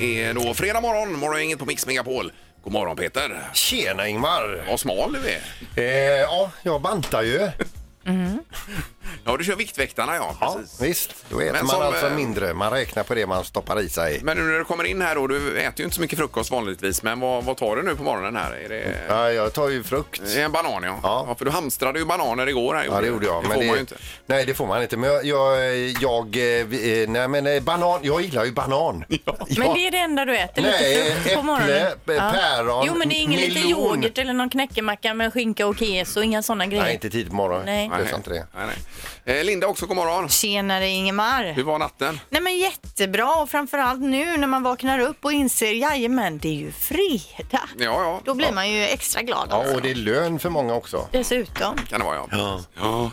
är då fredag morgon, morgongänget på Mix Megapol. God morgon Peter! Tjena Ingmar! Vad smal du är! Eh, ja, jag bantar ju. Ja, du kör Viktväktarna ja. Ja, Precis. visst, då äter Men man som, alltså eh, mindre. Man räknar på det man stoppar i sig. Men nu när du kommer in här då, du äter ju inte så mycket frukost vanligtvis, men vad, vad tar du nu på morgonen här? Är det Ja, jag tar ju frukt. det är en banan ja. Ja. För du hamstrade ju bananer igår här. Ja, det gjorde jag. Det får man ju inte. Nej, det får man inte. Men jag... jag, jag eh, vi- eh, nej, men eh, banan. Jag gillar ju banan. Men det är det enda du äter? Nej, lite frukt på äpple, morgonen. p- päron, Jo, men det är ingen lite melon. yoghurt eller någon knäckemacka med skinka och keso, inga sådana grejer. Nej, inte tid på morgonen. Nej. Det är sant det. Nej, nej. Eh, Linda också, god morgon. Tjenare Ingemar! Hur var natten? Nej men jättebra och framförallt nu när man vaknar upp och inser jajamän det är ju fredag. Ja, ja. Då blir man ju extra glad Ja, alltså. och det är lön för många också. Dessutom. Kan det vara ja. ja.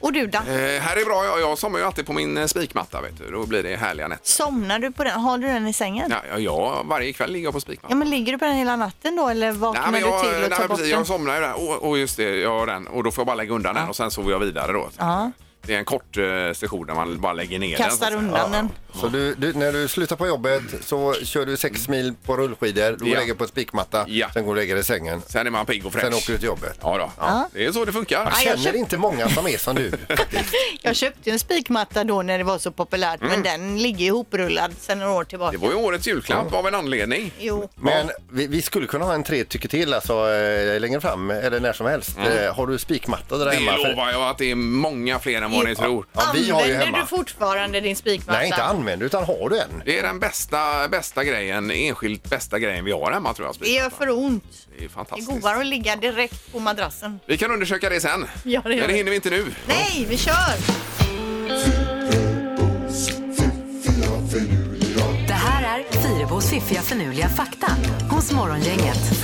Och du Dan, Eh, här är bra, jag, jag somnar ju alltid på min eh, spikmatta vet du. Då blir det härliga nätter. somnar du på den? Har du den i sängen? Ja, ja, ja, varje kväll ligger jag på Ja spikmattan. men ligger du på den hela natten då eller vaknar men du till och nej, tar bort men precis, den? jag somnar ju där. Och, och just det, jag har den. Och då får jag bara lägga undan den och sen sover jag vidare då. Ja. Det är en kort eh, session där man bara lägger ner Kastar den. så att säga. undan den. Så du, du, när du slutar på jobbet så kör du sex mil på rullskidor, du går Ja. och lägger på spikmatta, Ja. sen går och lägger dig i sängen. Sen är man pigg och fräsch. Sen åker du till jobbet. Ja, då. det är så det funkar. Jag jag känner köpt- inte många som är som du. Jag köpte ju en spikmatta då när det var så populärt Mm. men den ligger ihoprullad sedan några år tillbaka. Det var ju årets julklapp av en anledning. Jo. Men vi, vi skulle kunna ha en tre tycker till alltså, eh, längre fram eller när som helst. Eh, har du spikmatta där Mm. Det hemma? För- lovar jag att det är många fler än vad ni tror. Ja, vi har ju Använder hemma. du fortfarande din spikmatta? Nej, inte använd utan har du en? Det är den bästa, bästa grejen, enskilt bästa grejen vi har hemma tror jag. Det gör för ont. Det är Det är fantastiskt. godare att ligga direkt på madrassen. Vi kan undersöka det sen. Ja, det gör Men det vi. hinner vi inte nu. Nej, vi kör! Det här är Fyrabos fiffiga förnuliga fakta hos Morgongänget.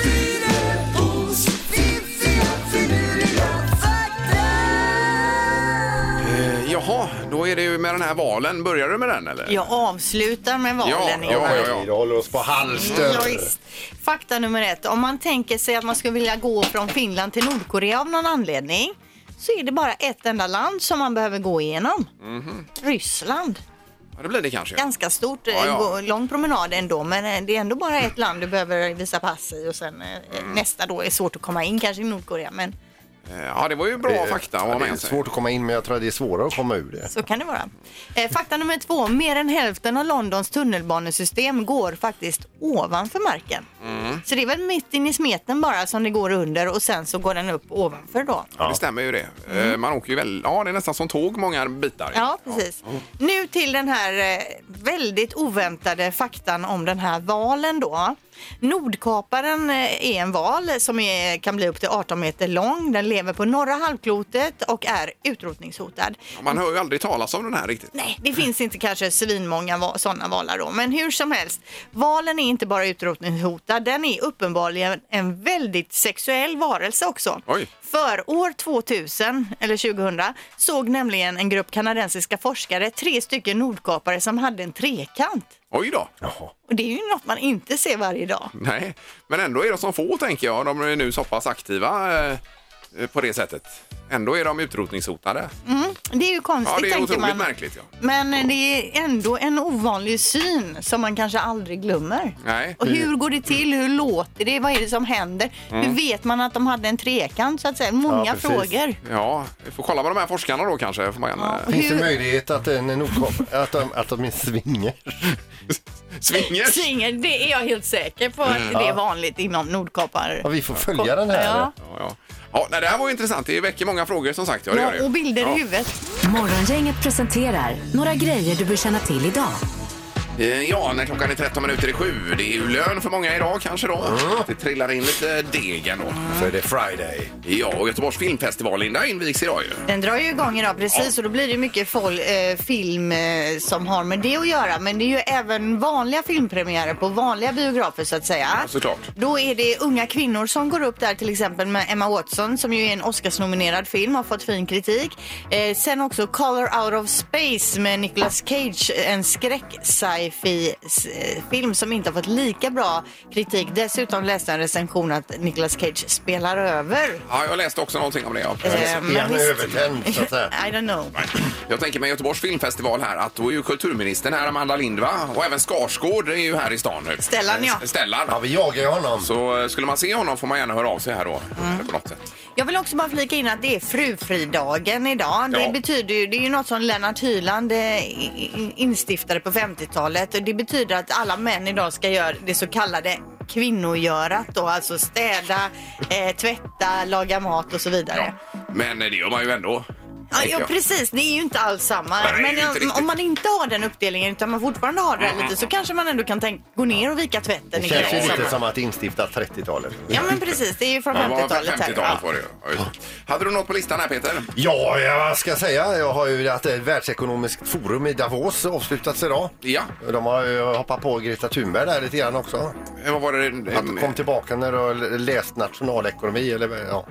Eh, jaha, då är det ju med den här valen. Börjar du med den eller? Jag avslutar med valen. Ja, ja, ja. Mm, Nej, det håller oss på halster. Ja, visst. Fakta nummer ett. Om man tänker sig att man skulle vilja gå från Finland till Nordkorea av någon anledning så är det bara ett enda land som man behöver gå igenom. Mhm. Ryssland. Ja, det blir det kanske. Ja. Ganska stort, Ja, ja. gå- lång promenad ändå men eh, det är ändå bara ett land du behöver visa pass i och sen eh, Mm. nästa då är svårt att komma in kanske i Nordkorea men Eh, ja, det var ju bra fakta att ha Ja, det är med sig. svårt att komma in men jag tror att det är svårare att komma ur det. Så kan det vara. Eh, Fakta nummer två. Mer än hälften av Londons tunnelbanesystem går faktiskt ovanför marken. Mm. Så det är väl mitt in i smeten bara som det går under och sen så går den upp ovanför då. Ja, det stämmer ju det. Eh, Man åker ju väl, ja det är nästan som tåg många bitar. Ja, precis. Nu till den här eh, väldigt oväntade faktan om den här valen då. Nordkaparen eh, är en val som är, kan bli upp till 18 meter lång. Den lever på norra halvklotet och är utrotningshotad. Ja, Man hör ju aldrig talas om den här riktigt. Nej, det finns inte kanske svinmånga va- sådana valar då. Men hur som helst, valen är inte bara utrotningshotad, den är uppenbarligen en väldigt sexuell varelse också. Oj. För år 2000, eller 2000, såg nämligen en grupp kanadensiska forskare tre stycken nordkapare som hade en trekant. Oj då! Och det är ju något man inte ser varje dag. Nej, men ändå är de som få tänker jag. De är nu så pass aktiva eh, eh, på det sättet. Ändå är de utrotningshotade. Mm, det är ju konstigt Ja, det är tänker otroligt man. märkligt. Ja. Men eh, det är ändå en ovanlig syn som man kanske aldrig glömmer. Nej. Och hur går det till? Hur låter det? Vad är det som händer? Hur vet man att de hade en trekant så att säga? Många Ja, precis. frågor. Ja, vi får kolla med de här forskarna då kanske. Får man, eh, ja. Ja. Finns Hur- det möjlighet att, eh, en nordkap- att, de, att de är svinger? Svinger! Singel, det är jag helt säker på att det är vanligt inom nordkapar. Ja, vi får följa den här. Ja. Ja, ja. Ja, nej, det här var ju intressant. Det väcker många frågor som sagt. Ja, det gör det Ja, ju. och bilder Ja. i huvudet. Morgongänget presenterar några grejer du bör känna till idag. Eh, Ja, när klockan är 13 minuter i sju. Det är ju lön för många idag kanske då. Att Det trillar in lite degen då. Så är det Friday. Ja, och Göteborgs filmfestival, Linda, invigs idag ju. Den drar ju igång idag precis och då blir det mycket fol- eh, film eh, som har med det att göra. Men det är ju även vanliga filmpremiärer på vanliga biografer så att säga. Ja, såklart. Då är det unga kvinnor som går upp där till exempel med Emma Watson som ju är en Oscarsnominerad film har fått fin kritik. Eh, sen också Color Out of Space med Nicolas Cage, en skräck sci sci-fi-film som inte har fått lika bra kritik. Dessutom läste jag en recension att Nicolas Cage spelar över. Ja, jag läste också någonting om det. Ja. Eh, men Är han visst- övertänd, så att säga? I don't know. Jag tänker mig Göteborgs filmfestival här att då är ju kulturministern här, Amanda Lind va? Och även Skarsgård är ju här i stan nu. Stellan, ja. Eh, Stellan. Ja, vi jagar ju honom. Så eh, skulle man se honom får man gärna höra av sig här då. Mm. På något sätt. Jag vill också bara flika in att det är frufridagen idag. Det Ja. betyder ju, det är ju något som Lennart Hyland eh, in- instiftade på 50-talet och det betyder att alla män idag ska göra det så kallade kvinnogörat då, alltså städa, eh, tvätta, laga mat och så vidare. Ja. Men eh, det gör man ju ändå. Ja, tänker ja, jag. precis, det är ju inte alls samma. Nej, det är ju Men inte om, riktigt. Mm. om man inte har den uppdelningen utan man fortfarande har det här lite så kanske man ändå kan tänka, gå ner och vika tvätten. Det i känns ju sommaren. lite som att instifta 30-talet. Ja men precis, det är ju från Ja, det var 50-talet här. 50-talet var det ju. Ja, just det. Hade du något på listan här Peter? Ja, jag- vad ska jag säga? Jag har ju att ett världsekonomiskt forum i Davos avslutats idag. Ja. De har ju hoppat på Greta Thunberg där lite grann också. Eh, Vad var det? eh, Att de kom tillbaka när du har läst nationalekonomi eller ja.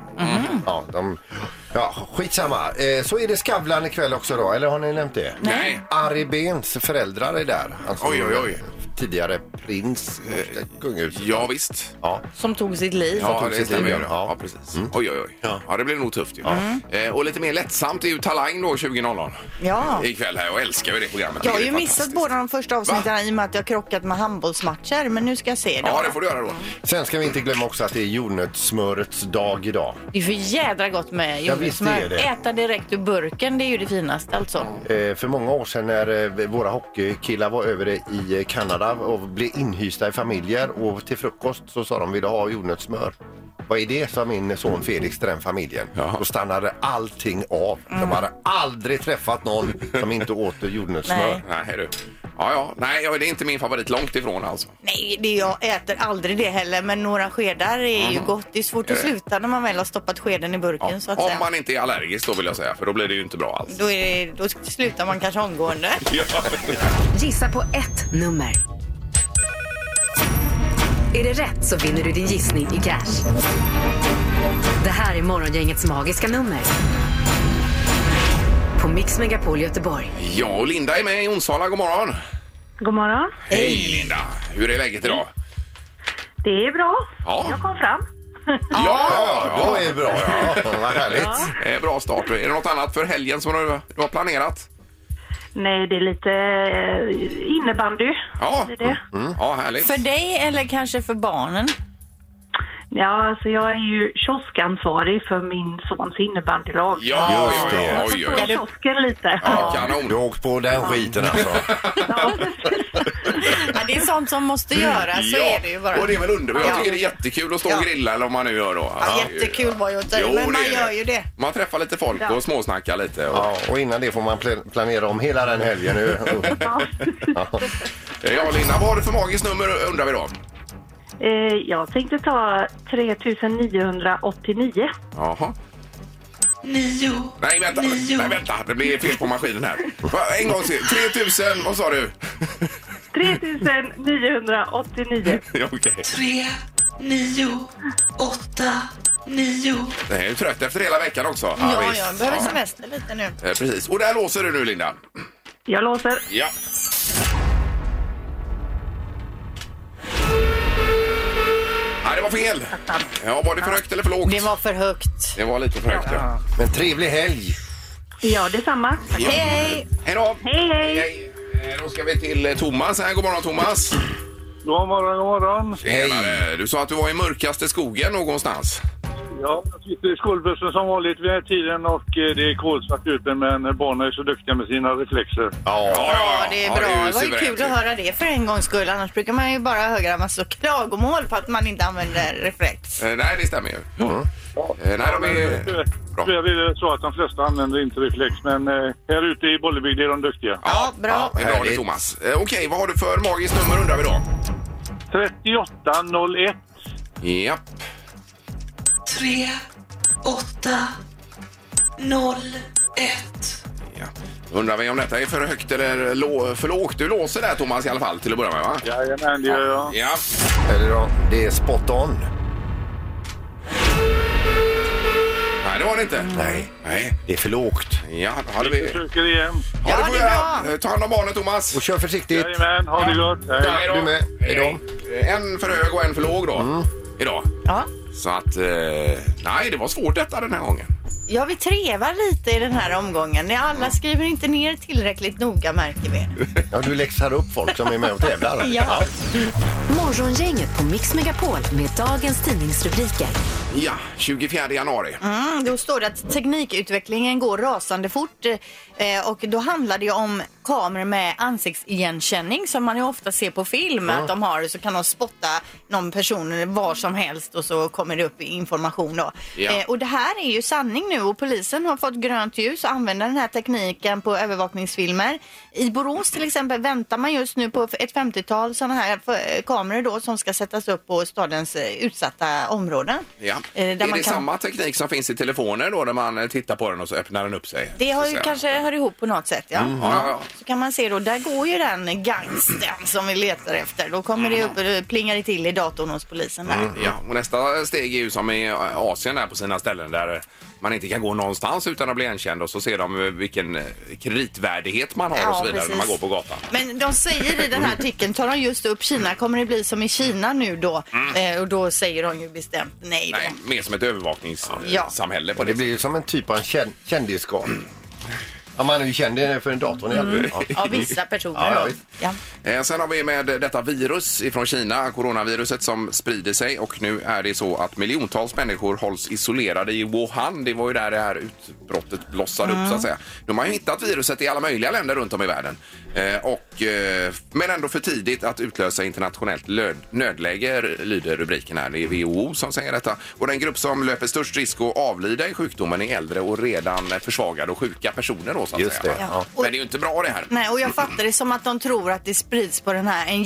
Ja, de, ja, skitsamma. Eh, så är det Skavlan ikväll också då, eller har ni nämnt det? Nej. Ari Behns föräldrar är där. Alltså, Oj, oj, oj. Tidigare prins, eh, kungahus. Ja, visst. Ja. Som tog sitt liv. Ja, tog det sitt stämmer. liv, ju. ja. Mm. Ja, precis. Oj, oj, oj. Ja. Ja. det blev nog tufft ju. Eh, och lite mer lättsamt är ju Talang då 20.00 Ja. ikväll här. Jag älskar ju det programmet. Jag Det har är ju missat fantastiskt. båda de första avsnitten i och med att jag krockat med handbollsmatcher, men nu ska jag se det. Ja, det får du göra då. Sen ska vi inte glömma också att det är jordnötssmörets dag idag. Det är för jädra gott med Ja, visst är jordgubbssmör. det. Äta direkt ur burken, det är ju det finaste alltså. Eh, för många år sedan när eh, våra hockeykillar var över i eh, Kanada och blev inhysta i familjer och till frukost så sa de vill du ha jordnötssmör. Vad är det, sa min son Felix till den familjen. Jaha. Då stannade allting av. De hade aldrig träffat någon som inte åt jordnötssmör. Nej. Nej, du. Ja, ja. Nej, ja, det är inte min favorit. Långt ifrån alltså. Nej, det, jag äter aldrig det heller, men några skedar är ju Mm. gott. Det är svårt Eh. att sluta när man väl har stoppat skeden i burken så att Om säga. man inte är allergisk då vill jag säga, för då blir det ju inte bra alls. Då, är det, då slutar man kanske omgående. Gissa på ett nummer. Är det rätt så vinner du din gissning i cash. Det här är Morgongängets magiska nummer. På Mix Megapol Göteborg. Ja, och Linda är med i Onsala. God morgon! God morgon. Hej Linda! Hur är läget idag? Det är bra. Ja. Jag kom fram. Ja, ja, Ja, det är bra. Ja, vad härligt. Eh, Bra start. Är det något annat för helgen som du, du har planerat? Nej, det är lite eh, innebandy. Ja, Mm. Det är det. ja härligt. För dig eller kanske för barnen? Ja, alltså jag är ju kioskansvarig för min sons innebandylag. Ja, Just ja, det. ja, oj, Jag oj, får oj. kiosken lite. Ja, Du kanon. har åkt på den skiten alltså. Ja, precis. Ja, det är sånt som måste göras, så är det ju bara. och det är väl underbart. Jag Ja. tycker det är jättekul att stå och Ja. grilla eller vad man nu gör då. Ja, Alltså, jättekul var ju att Jo, säga, men man är gör ju det. Man träffar lite folk Ja. och småsnackar lite. Och... Ja, och innan det får man pla- planera om hela den helgen nu. Ja. Eh, Ja, Linda, vad har du för magiskt nummer undrar vi då? Eh, Jag tänkte ta 3989. Jaha. Nio. Nej, vänta. Nej, vänta. Det blir fel på maskinen här. Va, En gång till. 3000, vad sa du? 3989. Ja, Okej. tre, nio, åtta, nio. Jag är ju trött efter hela veckan också. Ja, visst. jag behöver Ja. semester lite nu. Eh, Precis. Och där låser du nu, Linda. Jag låser. Ja. Nej, det var fel. Ja, var det för högt eller för lågt? Det var för högt. Det var lite för högt, ja. Men trevlig helg! Ja, detsamma. Hej, hej! Hej då! Hej, hej. Eh, Då ska vi till eh, Thomas. Här, god morgon, Thomas. God morgon, god morgon. Tjenare. Du sa att du var i mörkaste skogen någonstans. Ja, jag sitter i skolbussen som vanligt vid den här tiden och eh, det är kolsvart ute men barnen är så duktiga med sina reflexer. Ja, Ja, det är bra. ju det var ju suveränt kul ju. att höra det för en gångs skull. Annars brukar man ju bara höra en massa klagomål på att man inte använder reflex. Eh, Nej, det stämmer ju. Eh, Nej, de är... Bra. Tyvärr är det så att de flesta använder inte reflex men eh, här ute i Bollebygd är de duktiga. Ja, bra. det är bra det, Härligt. Thomas. Eh, Okej, vad har du för magiskt nummer undrar vi då? 3801. Japp. Tre, åtta, noll, ett. Ja. Undrar vi om detta är för högt eller lå- för lågt? Du låser där, Thomas, i alla fall till att börja med, va? Jajamän, det gör jag. Ja. eller då, det är spot on. Nej, det var det inte. Nej, Nej. det är för lågt. Ja, ha det, Vi vi. försöker igen. Ha det det är bra. Ta hand om barnen, Thomas. Och kör försiktigt. Jajamän, ha det gott. Hej. Hej då. Du med. Mm. Hej då. Hej. En för hög och en för låg då. Idag. Ja. Så att, eh, nej det var svårt detta den här gången. ja, vi trevar lite i den här omgången. Ni Alla skriver inte ner tillräckligt noga märker vi. Ja, du läxar upp folk som är med och tävlar. Ja. Morgongänget på Mix Megapol med dagens tidningsrubriker. Ja, 24 januari. Mm, då står det att teknikutvecklingen går rasande fort eh, och då handlar det ju om kameror med ansiktsigenkänning som man ju ofta ser på film att de har så kan de spotta någon person var som helst och så kommer det upp information då. Ja. Eh, och det här är ju sanning nu och polisen har fått grönt ljus att använda den här tekniken på övervakningsfilmer. I Borås till exempel väntar man just nu på ett 50-tal sådana här eh, kameror då som ska sättas upp på stadens eh, utsatta områden. Ja. Eh, där är det man kan- samma teknik som finns i telefoner då när man eh, tittar på den och så öppnar den upp sig? Det har Så ju att säga. kanske hör ihop på något sätt, ja. Ja, ja, ja. Så kan man se då, där går ju den gangsten som vi letar efter. Då kommer det Mm. upp, eh, plingar det till i datorn hos polisen där. Ja, och nästa steg är ju som i Asien där på sina ställen där eh, man inte kan gå någonstans utan att bli igenkänd och så ser de eh, vilken eh, kreditvärdighet man har och Ja, så vidare när man går precis. på gatan. Men de säger i den här artikeln, tar de just upp Kina, kommer det bli som i Kina nu då? Eh, och då säger de ju bestämt nej då. Mm. Nej, mer som ett Ja. övervakningssamhälle på Det det blir ju som en typ av kän- kändisskap. Ja, man är ju känd för en dator. Mm. Ja. Av vissa personer Ja, ja, då. visst. Ja. Eh, Sen har vi med detta virus ifrån Kina, coronaviruset som sprider sig och nu är det så att miljontals människor hålls isolerade i Wuhan. Det var ju där det här utbrottet blossade upp så att säga. De har ju hittat viruset i alla möjliga länder runt om i världen. Eh, Och, eh, men ändå för tidigt att utlösa internationellt löd- nödläge lyder rubriken här. Det är WHO som säger detta. Och den grupp som löper störst risk att avlida i sjukdomen är äldre och redan försvagade och sjuka personer då så att Just säga. det, ja. Men det är ju inte bra det här. Nej, och jag fattar det som att de tror att det sprids på den här en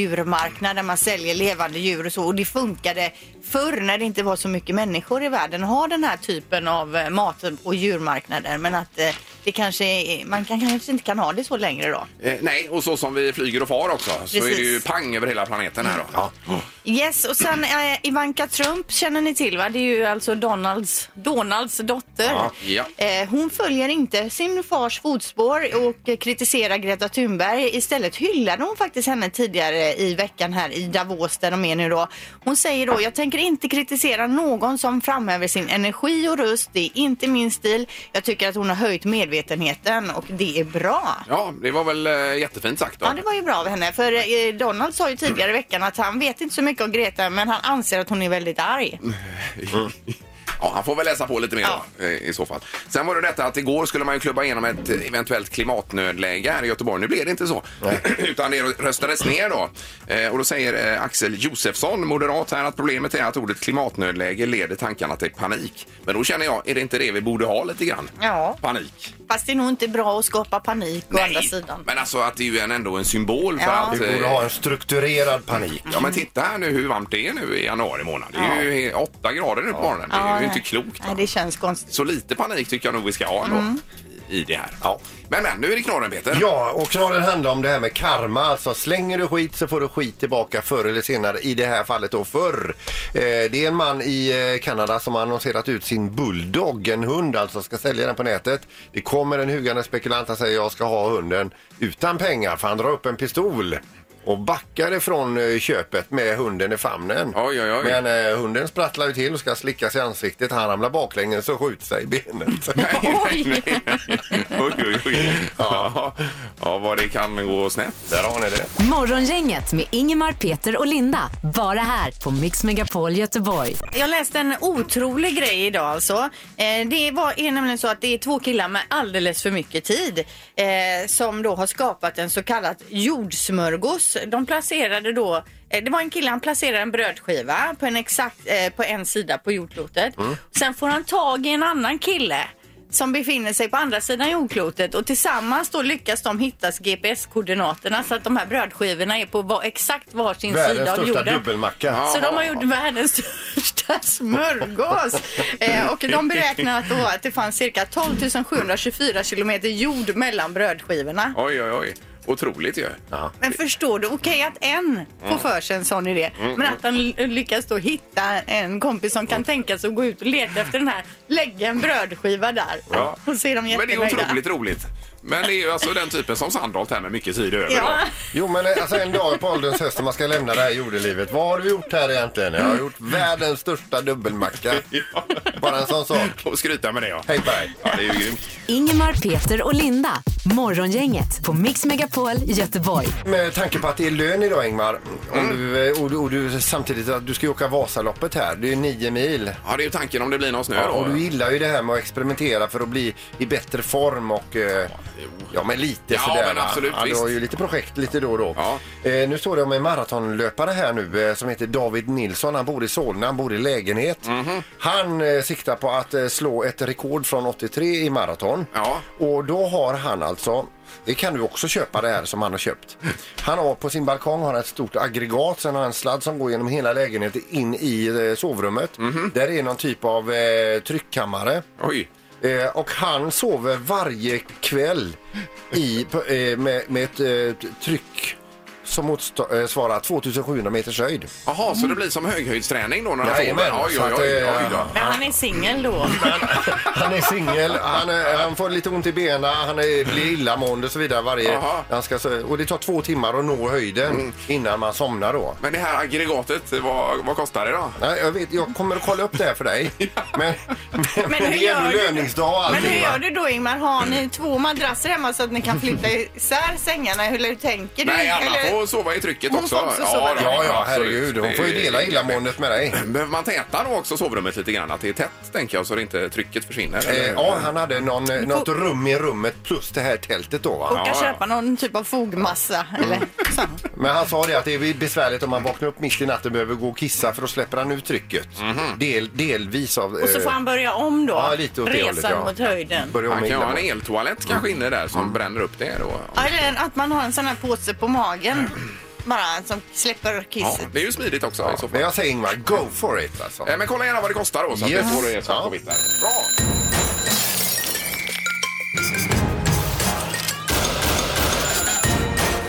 jättedjurmarknad där man säljer levande djur och så. Och det funkade förr när det inte var så mycket människor i världen att ha den här typen av eh, mat och djurmarknader. Men att eh, det kanske är, man kan, kanske inte kan ha det så längre då. Eh, nej, och så som vi flyger och far också så är det ju Precis. pang över hela planeten här då. Yes, och sen eh, Ivanka Trump känner ni till va? Det är ju alltså Donalds, Donalds dotter. Ja. Eh, hon följer inte sin fars fotspår och eh, kritiserar Greta Thunberg. Istället hyllade hon faktiskt henne tidigare i veckan här i Davos där de är nu då. Hon säger då, jag tänker inte kritisera någon som framhäver sin energi och röst. Det är inte min stil. Jag tycker att hon har höjt medvetenheten och det är bra. Ja, det var väl eh, jättefint sagt då. Ja, det var ju bra av henne. För eh, Donald sa ju tidigare i veckan att han vet inte så mycket om Greta, men han anser att hon är väldigt arg. Mm. Ja, han får väl läsa på lite mer Ja. då, eh, i så fall. Sen var det detta att igår skulle man ju klubba igenom ett eventuellt klimatnödläge här i Göteborg. Nu blev det inte så, utan det röstades ner då. Eh, Och då säger eh, Axel Josefsson, moderat här, att problemet är att ordet klimatnödläge leder tankarna till panik. Men då känner jag, är det inte det vi borde ha lite grann? Ja. Panik. Fast det är nog inte bra att skapa panik å andra sidan. men alltså att det är ju en, ändå en symbol för Ja. att... Vi borde eh, ha en strukturerad panik. Ja men titta här nu hur varmt det är nu i januari månad. Det är ju 8 grader nu på morgonen. Det är Ja, ju inte nej. klokt. Nej, va? det Mm. känns konstigt. Så lite panik tycker jag nog vi ska ha ändå i det här. Ja. Men men, nu är det knorren Peter. Ja, och knallen handlar om det här med karma. Alltså slänger du skit så får du skit tillbaka förr eller senare. I det här fallet då förr. Eh, det är en man i eh, Kanada som har annonserat ut sin bulldog, en hund alltså, ska sälja den på nätet. Det kommer en hugande spekulant som säger jag ska ha hunden utan pengar för han drar upp en pistol och backar ifrån eh, köpet med hunden i famnen. Oj, oj, oj. Men eh, hunden sprattlar ju till och ska slicka sig i ansiktet. Han ramlar baklänges och skjuter sig i benet. Nej, nej, nej. oj, oj, oj. Ja. ja, vad det kan gå snett. Där har ni det. Morgongänget med Ingemar, Peter och Linda. Bara här på Mix Megapol Göteborg. Jag läste en otrolig grej idag alltså. Eh, det var, är nämligen så att det är två killar med alldeles för mycket tid eh, som då har skapat en så kallad jordsmörgås. De placerade då eh, det var en kille, han placerade en brödskiva på en exakt eh, på en sida på jordklotet. Mm. Sen får han tag i en annan kille som befinner sig på andra sidan jordklotet och tillsammans då lyckas de hittas GPS-koordinaterna så att de här brödskivorna är på var, exakt varsin Världens sida av största jorden. dubbelmacka. Så de har gjort världens största smörgås. eh, och de beräknar att, då, att det fanns cirka 12 724 kilometer jord mellan brödskivorna. Oj, oj, oj. Otroligt ju. Ja. Men förstår du? Okej att en Mm. får för sig en sån idé, men att han ly- lyckas då hitta en kompis som Mm. kan tänka sig att gå ut och leta efter den här, lägga en brödskiva där Ja. och se dem Men det är jättenöjda. otroligt roligt. Men det är ju alltså den typen som Sandholt här med mycket tid över. Ja. då. Jo, men eh, alltså en dag på ålderns höst när man ska lämna det här jordelivet. Vad har du gjort här egentligen? Jag har gjort världens största dubbelmacka. Bara en sån sak. Och skryta med det ja. Hej på dig. Ja, det är ju grymt. Ingemar, Peter och Linda. Morgongänget på Mix Megapol Göteborg. Med tanke på att det är lön idag Ingmar om du, eh, och, du, och du samtidigt att du ska ju åka Vasaloppet här. Det är ju nio mil. Ja, det är ju tanken om det blir någon snö Ja, då. och du gillar ju det här med att experimentera för att bli i bättre form och eh, ja, men lite Ja, sådär. men va? absolut, ja, du visst. har ju lite projekt lite då och då. Ja. Eh, nu står det om en maratonlöpare här nu eh, som heter David Nilsson. Han bor i Solna, han bor i lägenhet. Mhm. Han eh, siktar på att eh, slå ett rekord från 83 i maraton. Ja. Och då har han alltså det kan du också köpa det här som han har köpt. Han har på sin balkong har han ett stort aggregat, sen har han en sladd som går genom hela lägenheten in i eh, sovrummet. Där är någon typ av eh, tryckkammare. Oj. Eh, och han sover varje kväll i, på, eh, med, med ett eh, t- tryck som motsvarar 2700 meters höjd. Jaha, så det blir som höghöjdsträning då när han Jajamän, sover? Oj, så oj, att, oj. eh, oj då. Men han är singel då. Han är singel, han, är- han får lite ont i benen, han är, blir illamående och så vidare varje... Jaha. Han ska, sö- och det tar två timmar att nå höjden Mm. innan man somnar då. Men det här aggregatet, vad, vad kostar det då? Nej, jag, vet, jag kommer att kolla upp det här för dig. Men, men, Men hur det är ändå gör du? löningsdag och Men hur allting. va? gör du då Ingmar? Har ni två madrasser hemma så att ni kan flytta isär sängarna? Eller Hur tänker du? Nej, Anna Eller- får sova i trycket Hon också. får också sova då, där. Ja, ja, absolut. herregud. Hon får ju Det är- dela illamåendet med dig. Mm. Behöver man täta då också sovrummet lite grann? Att det är tätt, tänker jag, så det inte trycket försvinner? Eh, eller? ja, han hade någon, eh, något rum i rummet plus det här tältet då. Och Va? kan Ja, ja. köpa någon typ av fogmassa eller så. Men han sa det att det är besvärligt om man vaknar upp mitt i natten och behöver gå och kissa för då släpper han ut trycket. Del, delvis av... Mhm. Och så får han börja om då. ja, lite åt det Resan hållet, ja. mot höjden. börja om Han med kan ha en illamående. eltoalett kanske inne där som bränner upp det då. Ja, Eller att man har en sån här påse på magen. Bara som släpper Ja, kisset. det är ju smidigt också i så fall. Men jag säger Ingmar, go for it alltså. Eh, Men kolla gärna vad det kostar då så att Yes. vi får det svart Ja. på vitt där. Bra!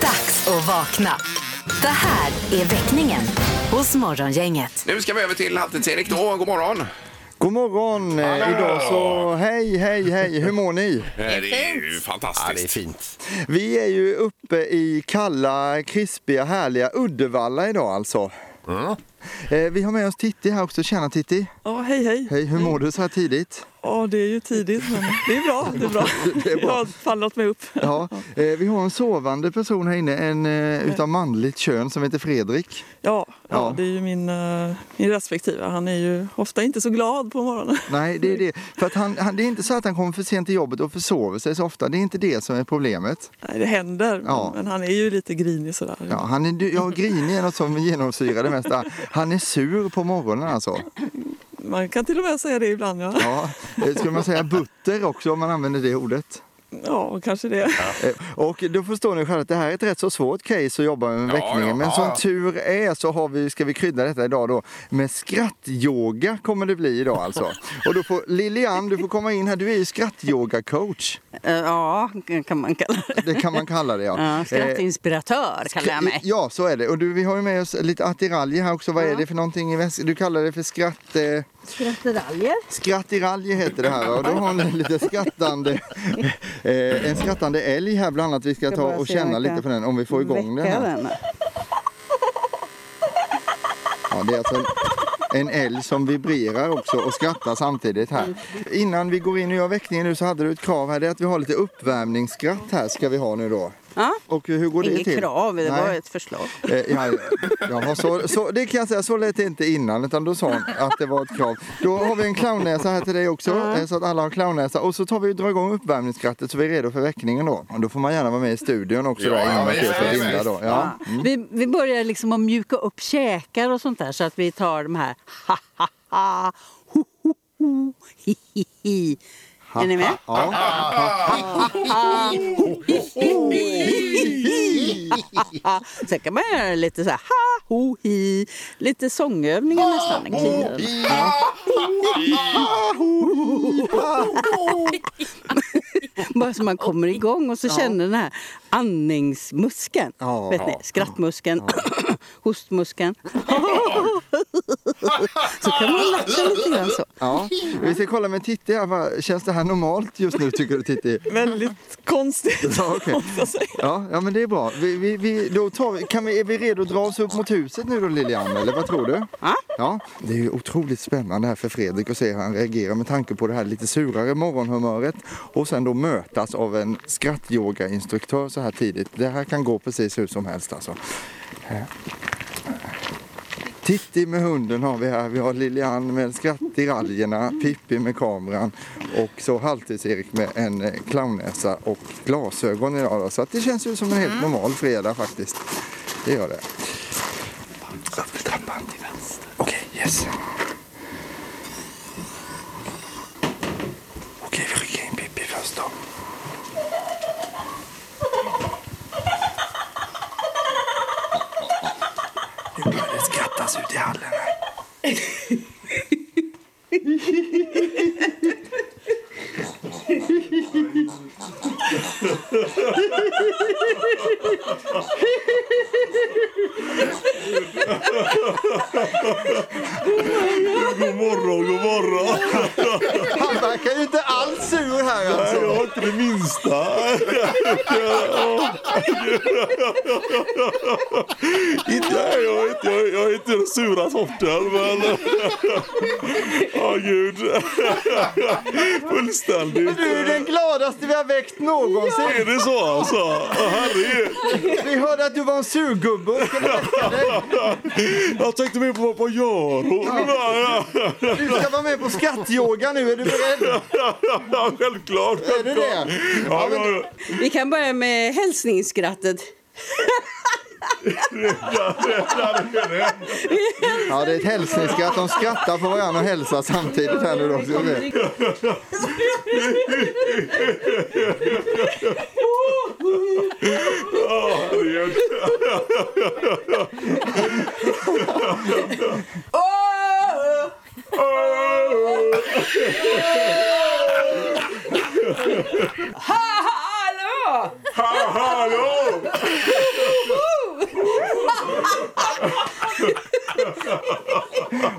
Dags att vakna. Det här är väckningen hos Morgongänget. Nu ska vi över till Halvtids-Erik då. God morgon! Eh, God morgon! Eh, Idag så, hej, hej, hej, hur mår ni? Eh, Det är ju fantastiskt. Ja, det är fint. Vi är ju uppe i kalla, krispiga, härliga Uddevalla idag alltså. Eh, Vi har med oss Titti här också. Tjena Titti! Ja, hej hej. Hej, hur mår du så här tidigt? Ja, det är ju tidigt men det är bra. Det är bra. Det är bra. Jag har fallit mig upp. Ja, eh, vi har en sovande person här inne, en eh, utav manligt kön som heter Fredrik. Ja, Ja. ja, det är ju min, eh, min respektive. Han är ju ofta inte så glad på morgonen. Nej, det är det. För att han, han, det är inte så att han kommer för sent till jobbet och försover sig så ofta. Det är inte det som är problemet. Nej, det händer. men- Ja. Men han är ju lite grinig sådär. Ja, han är, ja, grinig är något som genomsyrar det mesta. Han är sur på morgonen alltså. Man kan till och med säga det ibland. Ja, ja. Ja, eh, skulle man säga butter också om man använder det ordet? kanske det. Eh, Och då förstår ni själva att det här är ett rätt så svårt case att jobba med med Ja, väckningen. ja, Men ja, som ja. tur är så har vi, ska vi krydda detta idag då med skrattyoga kommer det bli idag alltså. Och då får Lilian, du får komma in här. Du är ju skrattyoga-coach. Eh, Ja, kan man kalla det. Det kan man kalla det ja. Ja, Eh, Skrattinspiratör kallar jag mig. Ja, så är det. Och du, vi har ju med oss lite attiraljer här också. Vad är det för någonting i väskan? Du kallar det för skratt... Eh... Skrattiraljer. Skrattiralje heter det här va? och då har ni lite skrattande, eh, en skrattande älg här bland annat. Vi ska ta och känna lite på den om vi får igång den här. Ja, det är alltså en, en älg som vibrerar också och skrattar samtidigt här. Innan vi går in och gör väckningen nu så hade du ett krav här. Det är att vi har lite uppvärmningsskratt här ska vi ha nu då. Ja. Och hur går det Inget till? krav, det var Nej. ett förslag. Eh, Ja, ja, så, så, det kan jag säga, så lät det inte innan utan då sa hon att det var ett krav. Då har vi en clownnäsa här till dig också eh, så att alla har clownnäsa och så tar vi och drar igång uppvärmningsskrattet så vi är redo för väckningen då. Och då får man gärna vara med i studion också Ja, där ja, innan visst, Peter och visst, Linda då. Ja. Mm. Ja. Vi, vi börjar liksom att mjuka upp käkar och sånt där så att vi tar de här ha ha ha, ho ho ho, hi hi hi. Är ni med? Ja. Ja. Sen kan man göra lite så här ha ho hi, lite sångövningar nästan. Kliar. Bara så man kommer igång och så känner den här andningsmuskeln. Ja. Vet ni, skrattmuskeln, hostmuskeln. så kan man latcha lite grann så. Ja. Vi ska kolla med Titti här. Vad- Känns det här normalt just nu tycker du Titti? Väldigt konstigt. Ja, okej. ja, ja, men det är bra. Vi, vi, vi, då tar vi, kan vi, är vi redo att dra oss upp mot huset nu då Lilian, eller vad tror du? Ja. Det är ju otroligt spännande här för Fredrik att se hur han reagerar med tanke på det här lite surare morgonhumöret och sen då mötas av en skrattyogainstruktör så här tidigt. Det här kan gå precis hur som helst alltså. Eh. Titti med hunden har vi här. Vi har Lilian med skratt i raljerna, Pippi med kameran och så Halvtids-Erik med en eh, clownnäsa och glasögon idag. Då. Så att det känns ju som en helt normal fredag faktiskt. Det gör det. Upp för trappan till vänster. Okej, yes. Okej, vi skickar in Pippi först då. Nu börjar det skrattas ut i hallen här. God morgon, god morgon! Han verkar ju inte alls sur här alltså. Nej, jag har inte det minsta. inte jag, jag, är inte, jag, är- jag är inte den sura sorten, men... Åh, gud. Fullständigt. Du är den gladaste vi har väckt någonsin. Är det så alltså? Åh, herregud. Vi hörde att du var en surgubbe och skulle väcka dig. Jag tänkte mer på vad gör hon? Ja. Du ska vara med på skattyoga nu, är du beredd? Ja, självklart. Är du det? Ja, ja, Vi kan börja med hälsningsskrattet. ja. Ja, det är ett hälsningsskratt. De skrattar på varandra och hälsar samtidigt här nu då. Ska vi se. Åh, herregud. Hallå! Hallå!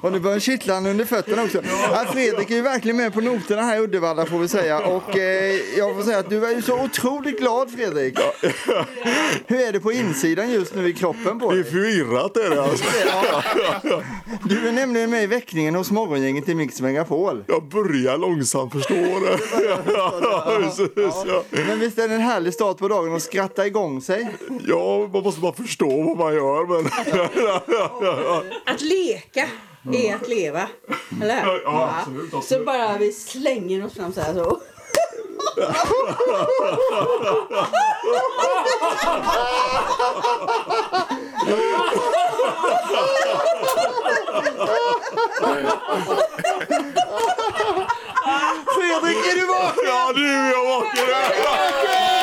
Och nu börjar kittlan under fötterna också. Ja, Fredrik är ju verkligen med på noterna här i Uddevalla får vi säga. Och eh, jag får säga att du är ju så otroligt glad Fredrik. Hur är det på insidan just nu i kroppen på dig? Det är förvirrat är det alltså. Du är nämligen med i väckningen hos morgongänget i Mix Megapol. Jag börjar långsamt förstå det. Ja, precis, ja. Men visst är det en härlig start på dagen att skratta igång sig? Ja, man måste bara förstå vad man gör. Men... Att leka är att leva. Eller? Ja, ja, absolut, absolut. Så bara vi slänger oss fram så här så. Fredrik, är du vaken? Ja, nu är jag vaken!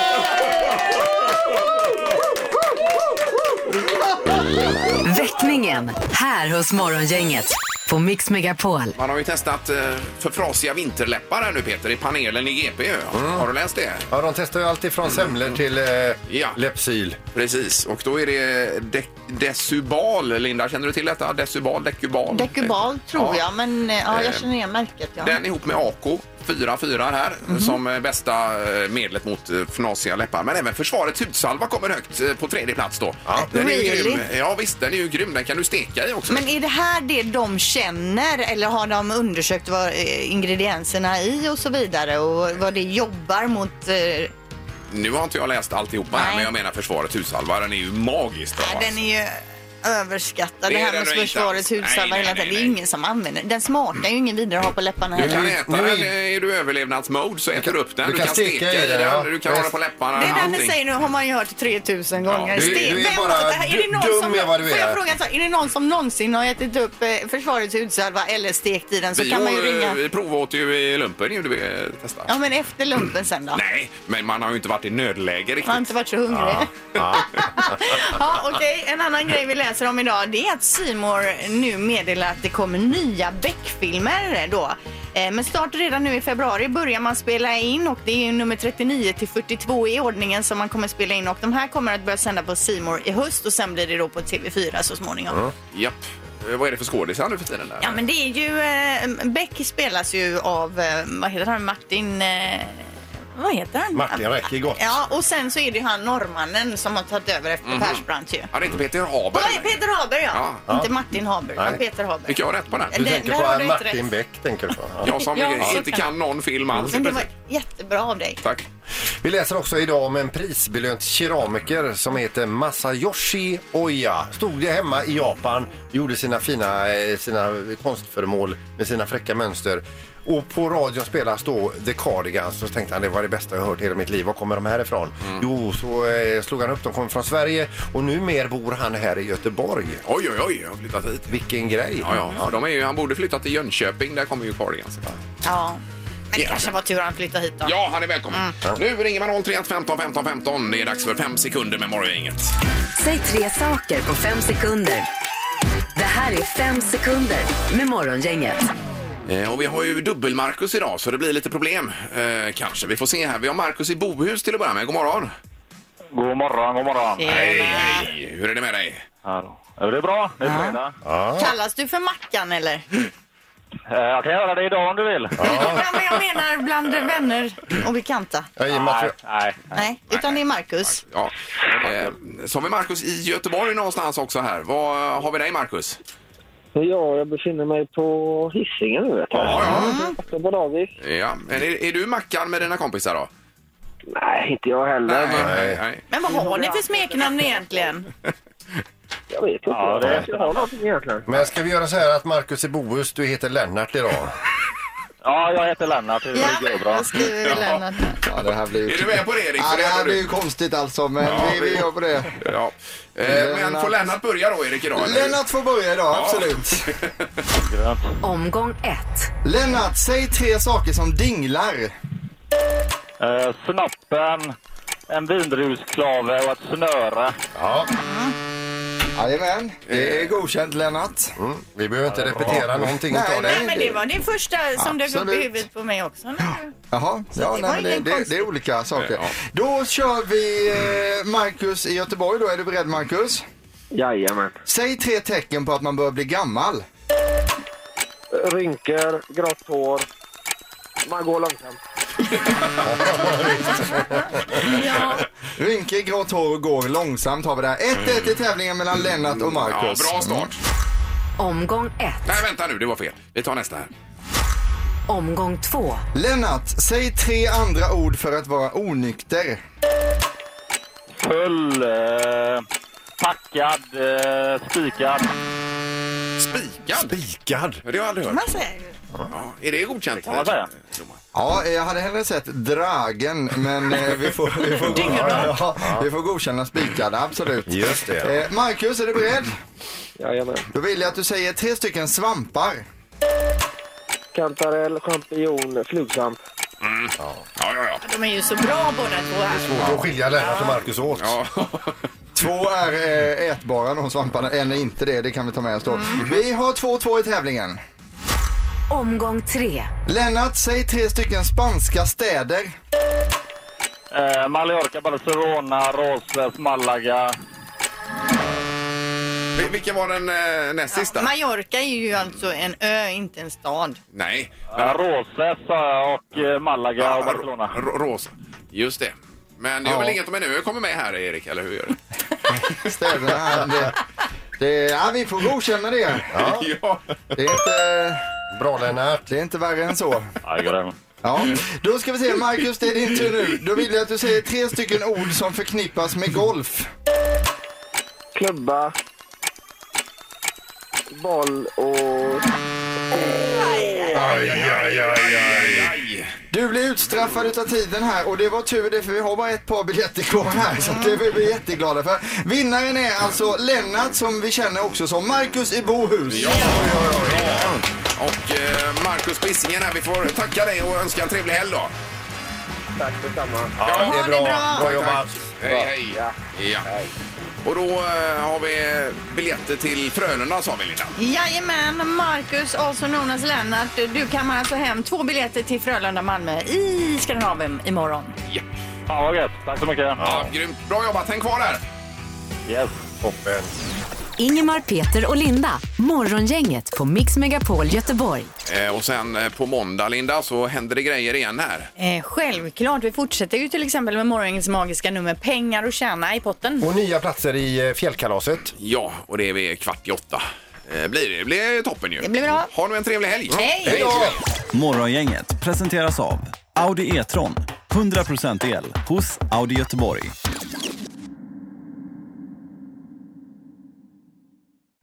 Väckningen här hos Morgongänget på Mix Megapol. Man har ju testat eh, förfrasiga vinterläppar här nu Peter i panelen i GP. Har du läst det? Ja, de testar ju allt ifrån semlor till eh, läppsyl. Precis, och då är det de Desubal. Linda, känner du till detta? Desubal, Decubal? Dekubal tror jag, men eh, ja, jag Eh, känner igen märket. Ja. Den ihop med AK, 4-4 här, Mhm. som eh, bästa eh, medlet mot eh, fnasiga läppar. Men även försvarets hudsalva kommer högt eh, på tredje plats då. Den är ju Really? grym. Ja visst, den är ju grym. Den kan du steka i också. Men är det här det de känner eller har de undersökt vad eh, ingredienserna i och så vidare och vad det jobbar mot? eh, Nu har inte jag läst alltihopa här, men jag menar försvarets hudsalva. Den är ju magiskt bra. alltså. Den är ju överskattad. Det Det, är här den med nog inte alls. försvarets hudsalva hela tiden. Det är ingen som använder den. Den smakar ju ingen vidare att ha på läpparna Du kan heller. äta den, är du i överlevnadsmode så äter du upp den. Du, kan, steka, i den, ja. du kan ha den på läpparna. Det där ni allting. säger nu har man ju hört 3000 gånger. Du- Sten- du är Vem bara har- det här- är det någon dum som- med vad du Får är. jag fråga en sak? Är det någon som någonsin har ätit upp eh, försvarets hudsalva eller stekt i den så vi, kan man ju eh, ringa. vi provåt ju i lumpen gjorde vi eh, testa. Ja men efter lumpen sen då? Nej, men man har ju inte varit i nödläge Man har riktigt. inte varit så hungrig. Ja, okej. En annan grej vi läser om idag det är att Simor nu meddelar att det kommer nya Beck-filmer då. Eh, Men start redan nu i februari börjar man spela in och det är ju nummer 39 till 42 i ordningen som man kommer spela in och de här kommer att börja sända på Simor i höst och sen blir det då på TV4 så småningom. Japp. Eh, Vad är det för skådisar nu för tiden? Där? Ja men det är ju, eh, Beck spelas ju av, eh, vad heter han, Martin eh, vad heter han? Martin Räckegott. Ja, och sen så är det ju han norrmannen som har tagit över efter Mhm. Persbrandt ju. Ja, det är inte Peter Haber. Nej, Peter Haber ja. Ja. Inte Martin Haber, utan Nej. Peter Haber. Fick jag rätt på den? Du Det- tänker där på har du Martin inte rätt. Beck, tänker du på? Jag som Ja, så inte kan kan någon film alls. Men det var jättebra av dig. Tack. Vi läser också idag om en prisbelönt keramiker som heter Masayoshi Oya. Stod det hemma i Japan, gjorde sina fina eh, sina konstföremål med sina fräcka mönster. Och på radion spelas då The Cardigans så tänkte han det var det bästa jag hört i hela mitt liv. Var kommer de här ifrån? Mm. Jo, så eh, slog han upp. De kom från Sverige och numer bor han här i Göteborg. Oj, oj, oj, jag har flyttat hit. Vilken grej! Ja, ja. ja de är ju, han borde flytta till Jönköping. Där kommer ju Cardigans. Ja. Men det kanske var tur att han flyttade hit då. Ja, han är välkommen. Mm. Nu ringer man 031 15 15 15. Det är dags för fem sekunder med Morgongänget. Säg tre saker på fem sekunder. Det här är fem sekunder med Morgongänget. Eh, Och vi har ju dubbel-Marcus idag så det blir lite problem eh, kanske. Vi får se här. Vi har Marcus i Bohus till att börja med. God morgon! God morgon, god morgon. Hej, hej! Hur är det med dig? Det är bra. Det är fredag. Kallas du för Mackan eller? Eh, Jag kan göra det idag om du vill. Ja, men jag menar bland vänner och bekanta. Nej, nej. Nej, utan det är Marcus. Ja. Eh, Så har vi Marcus i Göteborg någonstans också här. Vad eh, har vi dig Marcus? Ja, jag befinner mig på Hisingen nu. Vet jag. Ja, ja. På dagis. Ja. Är, är du Mackan med dina kompisar då? Nej, inte jag heller. Nej, nej, nej. Men vad har ni för smeknamn egentligen? Jag vet inte. Ja, det- Jag ska ha någonting egentligen. Men ska vi göra så här att Marcus i Bohus, du heter Lennart idag. Ja, jag heter Lennart. Det går bra. Ja, det här blir ju... Är du med på det Erik? Ja, För det hade här du. blir ju konstigt alltså, men Ja, vi, vi- vi gör på det. Ja. Eh, Men får Lennart börja då Erik idag? eller? Lennart får börja idag, Ja. absolut. Omgång ett. Lennart, säg tre saker som dinglar. Eh, snoppen, en vindrusklave och ett snöre. Ja. Jajamän, det är godkänt Lennart. Mm. Mm. Vi behöver inte repetera någonting Nej, utav det. Nej, men det var det första som dök upp i Absolut. huvudet på mig också. när Jaha, ja, det nej, var men det, ingen det, konst. det är olika saker. Då kör vi eh, Marcus i Göteborg då. Är du beredd Marcus? Jajamän. Säg tre tecken på att man börjar bli gammal. Rynkor, grått hår. Man går långsamt. Rynkor, grått hår och går långsamt har vi där. 1-1 i tävlingen mellan Lennart och Marcus. Ja, bra start. Mm. Omgång ett. Nej, vänta nu, det var fel. Vi tar nästa här. Omgång två. Lennart, säg tre andra ord för att vara onykter. Full, eh, packad, eh, spikad. Spikad? Spikad? Det har jag aldrig hört. Man säger Ja, är det godkänt? kan man säga. Ja, eh, jag hade hellre sett dragen, men eh, vi får, vi får, ja, ja, vi får godkänna spikad, absolut. Just det. Eh, Marcus, är du beredd? Jajamän. Då vill jag att du säger tre stycken svampar. Kantarell, champinjon, flugsvamp. Ja, ja, ja. De är ju så bra båda två här. Svårt att skilja Lennart och Marcus åt. Två är eh, ätbara de svamparna, en är inte det, det kan vi ta med oss då. Vi har 2-2 i tävlingen. Omgång tre. Lennart, säg tre stycken spanska städer. Eh, Mallorca, Barcelona, Rosles, Malaga. Vi- Vilken var den eh, näst sista? Mallorca är ju alltså en ö, inte en stad. Nej. Ja, Roses sa jag och eh, Malaga och Barcelona. Rås. Just det. Men det gör Ja. väl inget om en ö kommer med här, Erik? Eller hur gör det? Städerna, här, det, det, ja, vi får godkänna det. Ja. Det är inte... Bra Lennart. Det är inte värre än så. Ja, grym. Ja, då ska vi se. Marcus, det är din tur nu. Då vill jag att du säger tre stycken ord som förknippas med golf. Klubba. Boll och... Aj, aj, aj, aj, aj, aj. Du blir utstraffad utav tiden här och det var tur det för vi har bara ett par biljetter kvar här så det är vi jätteglada för. Vinnaren är alltså Lennart som vi känner också som Marcus i Bohus. Och eh, Marcus på Hisingen här, vi får tacka dig och önska en trevlig helg då. Tack detsamma. Ja, det är bra. Bra jobbat. Hej, hej. Ja. Och då eh, har vi biljetter till Frölunda sa vi Linda. Jajamän, Marcus, alltså Jonas Lennart. Du kammar alltså hem två biljetter till Frölunda-Malmö i Skandinavien imorgon. Fan vad gött. Tack så mycket. Ja, grymt. Bra jobbat, häng kvar där. Yes. Toppen. Ingemar, Peter och Linda. Morgongänget på Mix Megapol Göteborg. Eh, och sen eh, på måndag Linda så händer det grejer igen här. Eh, självklart, vi fortsätter ju till exempel med morgonens magiska nummer Pengar och tjäna i potten. Och nya platser i eh, fjällkalaset. Ja, och det är vid kvart i åtta. Eh, blir det. Det blir toppen ju. Det blir bra. Ha nu en trevlig helg. Hej! Morgongänget presenteras av Audi E-tron. 100% el hos Audi Göteborg.